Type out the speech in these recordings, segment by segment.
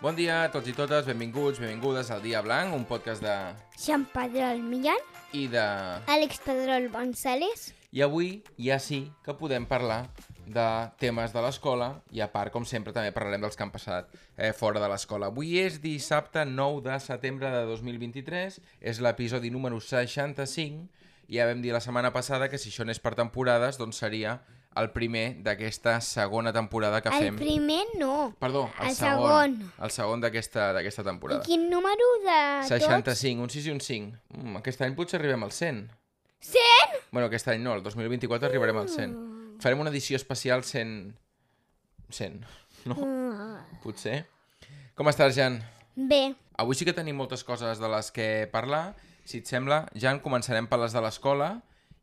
Bon dia a tots i totes, benvinguts, benvingudes al Dia Blanc, un podcast de... Jean Pedrol Millán, i de... Àlex Pedrol González. I avui ja sí que podem parlar de temes de l'escola i a part, com sempre, també parlarem dels que han passat eh, fora de l'escola. Avui és dissabte 9 de setembre de 2023, és l'episodi número 65, ja vam dir la setmana passada que si això anés per temporades, doncs seria el primer d'aquesta segona temporada que El fem. primer no. Perdó, el, el segon. segon. El segon d'aquesta d'aquesta I temporada. quin número de 60... tots? 65, un 6 i un 5. Mm, aquest any potser arribem al 100. 100? Bueno, aquest any no, el 2024 arribarem al Mm. 100. Farem una edició especial 100... 100, no? Mm. Potser. Com estàs, Jan? Bé, Avui sí que tenim moltes coses de les que parlar. Si et sembla, Jan, començarem per les de l'escola.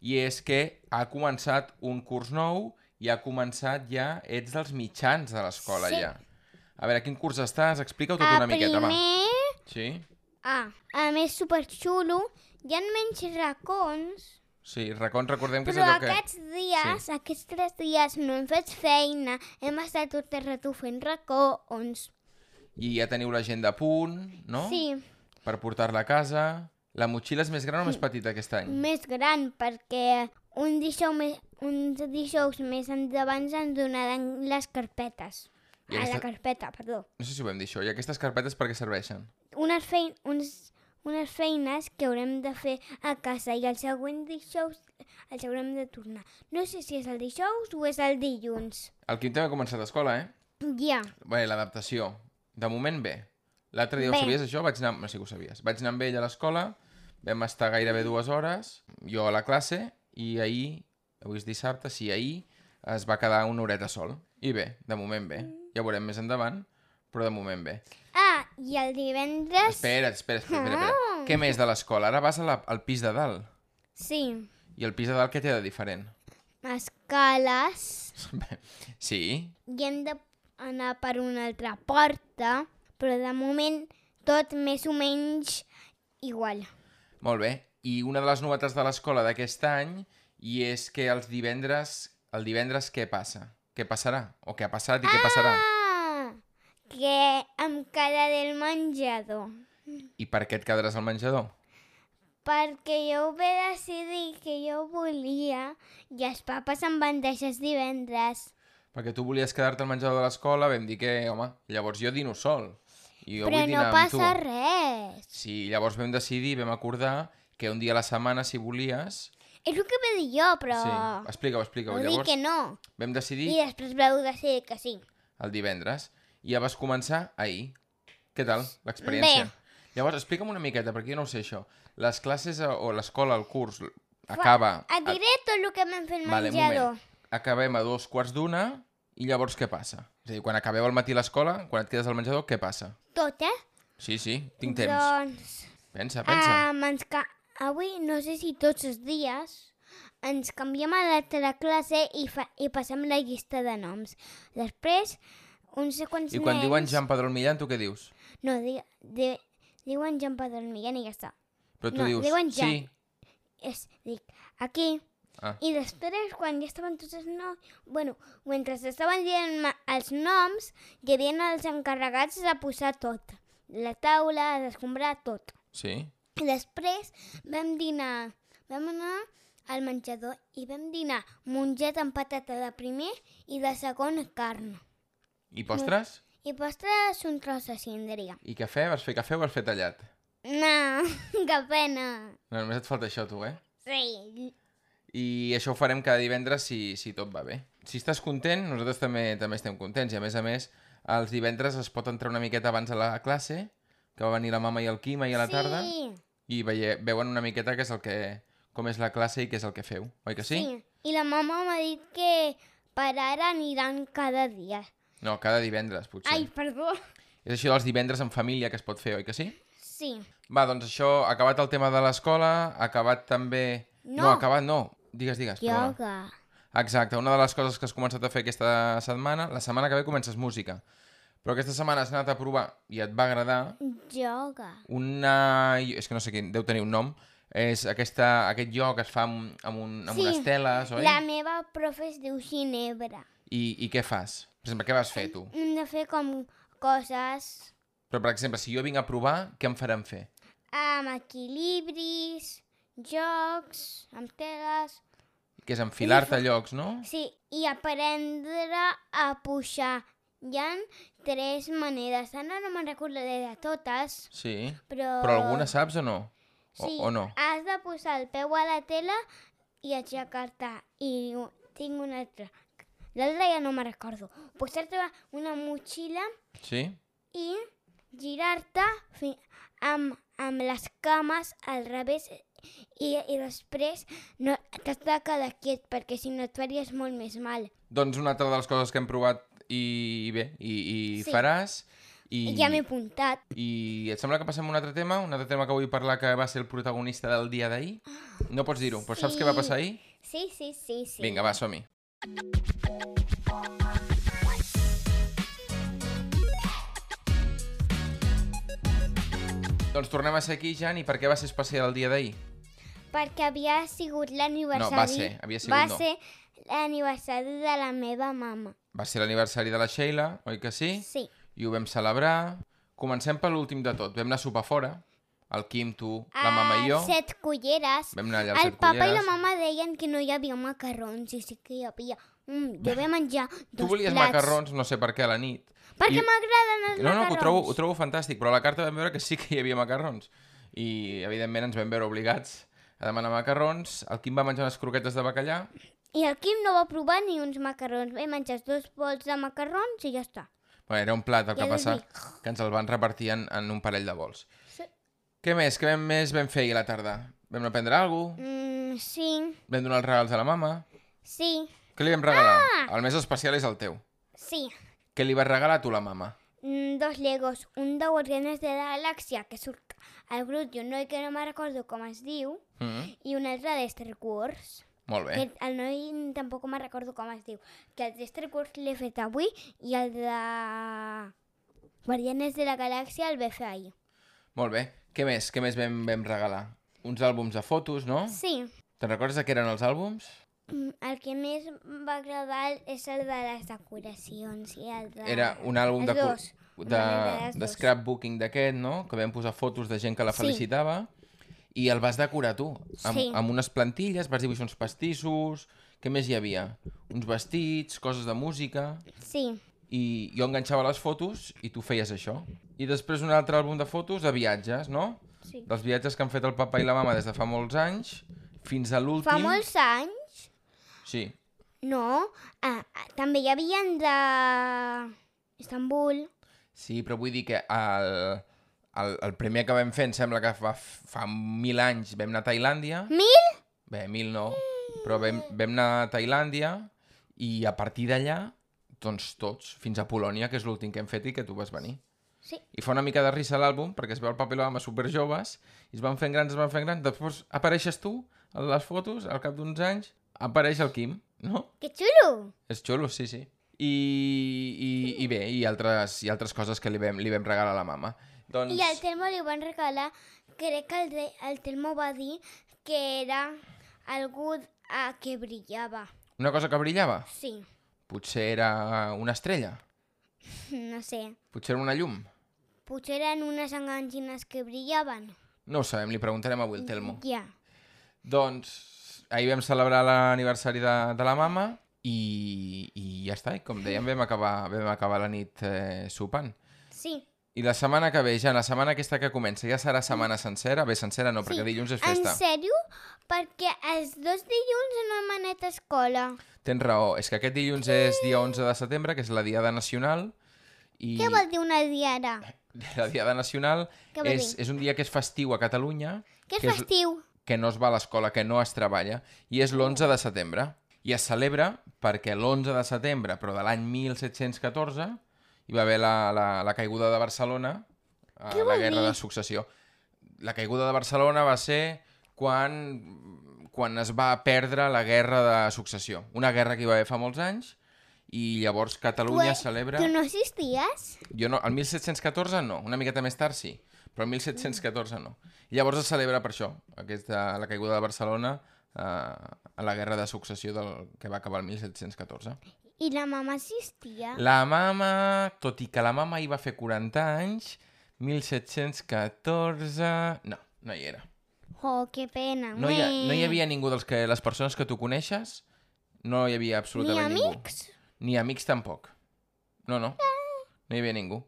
I és que ha començat un curs nou i ha començat ja... Ets dels mitjans de l'escola, Sí. ja. A veure, quin curs estàs? Explica-ho tot a una miqueta, va. primer... Sí? A. A més, superxulo. Hi ha menys racons, Sí, racons, recordem que és però allò que... aquests dies, aquests tres dies, no hem fet feina. Hem estat tot el rato fent racons. I ja teniu l'agenda a punt, no? Mm. Sí, per portar-la a casa. La motxilla és més gran o més petita aquest any? més gran, perquè un dijous més, uns dijous més endavant ens donaran les carpetes. I A la aquesta- carpeta, perdó. No sé si ho vam dir això. I aquestes carpetes per què serveixen? unes, fein, uns, unes feines que haurem de fer a casa i el següent dijous els haurem de tornar. No sé si és el dijous o és el dilluns. El Quim també ha començat escola, eh? Ja. Bé, l'adaptació. De moment bé. L'altre dia ho Bé. sabies, això? Vaig anar... No sé que ho sabies. Vaig anar amb ell a l'escola, vam estar gairebé dues hores, jo a la classe, i ahir, avui és dissabte, sí, ahir es va quedar una horeta sol. I bé, de moment bé. Mm. Ja ho veurem més endavant, però de moment bé. Ah, i el divendres... Espera, espera, espera, espera. espera. Ah. Què més de l'escola? Ara vas a la, al pis de dalt. Sí, I el pis de dalt què té de diferent? escales Bé, Sí, i hem d'anar per una altra porta, però de moment tot més o menys igual. molt bé. I una de les novetats de l'escola d'aquest any i és que els divendres... El divendres què passa? Què passarà? O què ha passat i què passarà? Ah, que em quedaré del menjador. I per què et quedaràs al menjador? Perquè jo ho vaig decidir que jo volia i els papes em van deixar els divendres. Perquè tu volies quedar-te al menjador de l'escola, vam dir que, home, llavors jo dino sol. I jo Però vull no dinar amb tu. passa res. Sí, llavors vam decidir, vam acordar que un dia a la setmana, si volies... És el que vaig dir jo, però... Sí, explica-ho, explica-ho. Vau dir Llavors que no. vam decidir I després vau decidir que sí. el divendres, i ja vas començar ahir. Què tal, l'experiència? Bé. Llavors, explica'm una miqueta, perquè jo no ho sé, això. Les classes a- o l'escola, el curs, l- acaba... Et diré tot el que m'han a- fet al Ah. Vale, un menjador. moment. Acabem a dos quarts d'una, i llavors què passa? És a dir, quan acabeu al matí a l'escola, quan et quedes al menjador, què passa? Tot, eh? Sí, sí, tinc temps. Doncs... Pensa, pensa. Um, ens ca... Avui, no sé si tots els dies, ens canviem a l'altra classe i, fa... i passem la llista de noms. Després, uns quants I quan nens... diuen Jean Pedro Millán, tu què dius? No, di, di, diuen Jean Pedrol Millán i ja està. Però tu No, dius... diuen Jean. Sí, És, dic, aquí. Ah. I després, quan ja estaven tots els noms... Bueno, mentre estaven dient ma- els noms, hi havia els encarregats de posar tot. La taula, d'escombrar tot. sí. I després vam dinar... Vam anar al menjador i vam dinar mongeta amb patata de primer i de segon carn. I postres? I postres un tros de cindria. I cafè? Vas fer cafè o vas fer tallat? No, que pena. No, només et falta això, tu, eh? Sí, I això ho farem cada divendres si, si tot va bé. Si estàs content, nosaltres també també estem contents. I a més a més, els divendres es pot entrar una miqueta abans a la classe, que va venir la mama i el Quim ahir a la tarda, Sí, i veie, veuen una miqueta que és el que, com és la classe i què és el que feu, oi que sí? sí. I la mama m'ha dit que per ara aniran cada dia. No, cada divendres, potser. Ai, perdó. És això dels divendres en família que es pot fer, oi que sí? Sí. Va, doncs això, acabat el tema de l'escola, acabat també... no No. acabat no. Digues, digues. perdona. Yoga. Exacte, una de les coses que has començat a fer aquesta setmana, la setmana que ve comences música, però aquesta setmana has anat a provar i et va agradar Yoga. una... és que no sé quin, deu tenir un nom, és aquesta, aquest lloc que es fa amb, amb, un, amb Sí, unes teles, oi? La meva profe es diu Ginebra. I, I què fas? Per exemple, què vas fer tu? Hem de fer com coses Però, per exemple, si jo vinc a provar, què em faran fer? Amb equilibris, jocs, amb teles... Que és enfilar-te a llocs, no? Sí, i aprendre a pujar. Hi ha tres maneres. Ara no me'n recordaré de totes, Sí. però... Però alguna saps o no? O, Oh. Sí, o no? has de posar el peu a la tela i aixecar-te. I u- tinc una altra. L'altra ja no me recordo. Posar-te una motxilla Sí? i girar-te fi- amb, amb les cames al revés i, i després no, t'has de quedar quiet perquè si no et faries molt més mal. Doncs una altra de les coses que hem provat i, i bé, i, i Sí. faràs... I, I... Ja m'he apuntat. I et sembla que passem a un altre tema? Un altre tema que vull parlar que va ser el protagonista del dia d'ahir? No pots dir-ho, però saps què va sí. passar ahir? Sí, sí, Ah, sí, sí. Vinga, va, som-hi. Doncs tornem a ser aquí, Jan, i per què va ser especial el dia d'ahir? Perquè havia sigut No, l'aniversari... va ser, havia sigut va no. ser l'aniversari de la meva mama. Va ser l'aniversari de la Sheila, oi que sí? Sí. I ho vam celebrar. Comencem per l'últim de tot. Vam anar a sopar fora, el Quim, tu, la mama i jo. A Ah, set culleres. Vam anar allà als El set papa i la culleres. mama deien que no hi havia macarrons i sí que hi havia... Mm, jo vaig menjar dos Tu volies plats. macarrons, no sé per què, a la nit. Perquè I- m'agraden els No, no, macarrons. que ho trobo, ho trobo fantàstic, però a la carta vam veure que sí que hi havia macarrons. I, evidentment, ens vam veure obligats a demanar macarrons. El Quim va menjar unes croquetes de bacallà. I el Quim no va provar ni uns macarrons. Vaig menjar els dos bols de macarrons i ja està. Bueno, era un plat el Ja que l'he passa, vist. que ens el van repartir en, en un parell de vols. Sí. Què més? Què vam, més vam fer ahir a la tarda? Vam anar a prendre alguna cosa? Mm, sí, Vam donar els regals a la mama? sí, Què li vam regalar? Ah! El més especial és el teu. sí. Què li vas regalar tu a la mama? Mm, dos legos, un de Guardianes de la Galàxia, que surt al grup d'un noi que no me recordo com es diu, Mm -hmm. i un altre de Star Wars. Molt Que bé. el noi tampoc me'n recordo com es diu. Que el d'Ester Curs l'he fet avui i el de... Guardianes de la Galàxia el va fer ahir. Molt bé. Què més? Què més vam, vam regalar? Uns àlbums de fotos, no? Sí, Te'n recordes de què eren els àlbums? mm, el que més em va agradar és el de les decoracions i el de... Era un àlbum els de, col- dos. de, Una de dels dos. scrapbooking d'aquest, no? Que vam posar fotos de gent que la Sí. felicitava. I el vas decorar tu, amb, Sí. amb unes plantilles, vas dibuixar uns pastissos... Què més hi havia? Uns vestits, coses de música... Sí, I jo enganxava les fotos i tu feies això. I després un altre àlbum de fotos de viatges, no? Sí. Dels viatges que han fet el papa i la mama des de fa molts anys fins a l'últim... fa molts anys, Sí, no? Ah, ah, també hi havia de... Istanbul. Sí, però vull dir que el, el, el primer que vam fer, em sembla que fa, fa mil anys vam anar a Tailàndia. Mil? Bé, mil no, però vam, vam anar a Tailàndia i a partir d'allà, doncs tots, fins a Polònia, que és l'últim que hem fet i que tu vas venir. Sí. I fa una mica de risa l'àlbum, perquè es veu el paper amb superjoves, i es van fent grans, es van fent grans, després apareixes tu, a les fotos, al cap d'uns anys, apareix el Quim, no? Que xulo! És xulo, sí, sí. I, i, i bé, i altres, i altres coses que li vam, li vam regalar a la mama. Doncs, I al Telmo li van regalar, crec que el, de, el Telmo va dir que era algú a que brillava. una cosa que brillava, Sí, potser era una estrella, no sé. potser era una llum. Potser eren unes enganxines que brillaven. No ho sabem, li preguntarem avui al Telmo. Ja. Doncs, ahir vam celebrar l'aniversari de, de la mama i, i ja està, i com dèiem, vam acabar, vam acabar la nit eh, sopant. Sí. I la setmana que ve, ja, la setmana aquesta que comença, ja serà setmana sencera? Bé, sencera no, perquè sí. dilluns és En festa. sèrio? Perquè els dos dilluns no hem anat a escola. Tens raó, és que aquest dilluns és dia 11 de setembre, que és la Diada Nacional, i Què vol dir una diada? la Diada Nacional Què vol és, dir? és un dia que és festiu a Catalunya, Que és que, és, festiu. que no es va a l'escola, que no es treballa, i és l'11 de setembre. I es celebra perquè l'11 de setembre, però de l'any 1714, hi va haver la, la, la caiguda de Barcelona, a Què la vol Guerra dir? de Successió. La caiguda de Barcelona va ser quan, quan es va perdre la Guerra de Successió. Una guerra que hi va haver fa molts anys, i llavors Catalunya Tu- celebra... Tu no assisties? Jo no, el 1714 no, una miqueta més tard sí, però el 1714 no. I llavors es celebra per això, aquesta, la caiguda de Barcelona eh, a la guerra de successió del, que va acabar el 1714. I la mama assistia? La mama, tot i que la mama hi va fer 40 anys, 1714... No, no hi era. Oh, que pena. No hi, ha, no hi meh. havia ningú dels que... Les persones que tu coneixes, no hi havia Ni absolutament ningú. amics? Ni amics tampoc. No, no. No hi havia ningú.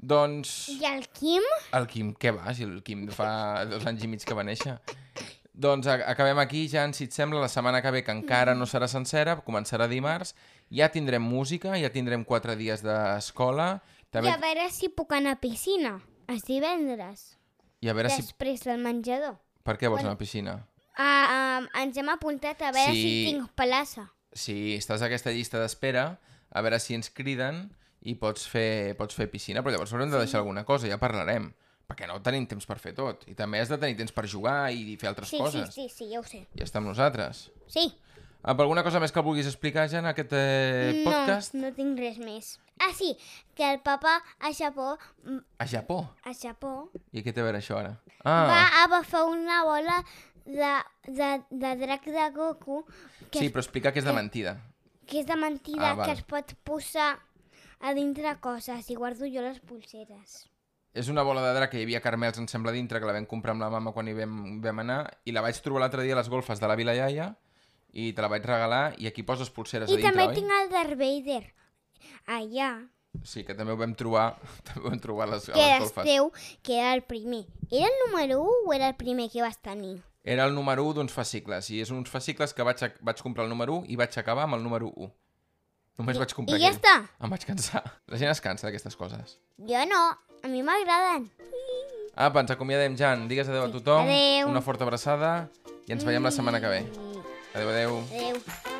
Doncs... I el Quim? El Quim, què va? Si el Quim fa dos anys i mig que va néixer. Doncs a- acabem aquí, Jan, si et sembla, la setmana que ve, que encara no serà sencera, començarà dimarts, ja tindrem música, ja tindrem quatre dies d'escola, I també... a veure si puc anar a piscina. Els divendres. I a veure si... Després del menjador. Per què vols anar a la piscina? Ah, ah, ens hem apuntat a veure si Sí. tinc plaça. Si estàs a aquesta llista d'espera, a veure si ens criden i pots fer, pots fer piscina, però llavors haurem de deixar alguna cosa, ja parlarem, perquè no tenim temps per fer tot. I també has de tenir temps per jugar i fer altres Sí, sí, coses. sí, sí, ja ho sé. I estar amb nosaltres. Sí. Ah, per alguna cosa més que vulguis explicar ja en aquest eh, podcast? No, no tinc res més. Ah, sí, que el papa a Japó, mm, A Japó. a Japó, I què té a veure això ara? ah. va Ah, agafar una bola de, de, de drac de Goku que, sí, però explica eh. que és de mentida. que és de mentida, Ah, val. que es pot posar a dintre coses i guardo jo les pulseres. És una bola de drac que hi havia carmels, em sembla, dintre, que la vam comprar amb la mama quan hi vam, vam anar, i la vaig trobar l'altre dia a les golfes de la Vila Iaia, i te la vaig regalar, i aquí poses pulseres I a dintre, també oi? tinc el Darth Vader allà, Sí, que també ho vam trobar, també ho vam trobar a les, a que les es golfes. diu que era el primer. Era el número 1 o era el primer que vas tenir? Era el número 1 d'uns fascicles, i és uns fascicles que vaig, ac- vaig comprar el número 1 i vaig acabar amb el número 1. Només vaig comprar I ja aquell. està. Em vaig cansar. La gent es cansa d'aquestes coses. Jo no, a mi m'agraden. Apa, Ah, ens acomiadem, Jan. Digues adeu a tothom. Adeu. Una forta abraçada i ens veiem la setmana que ve. Adeu, adeu. Adéu.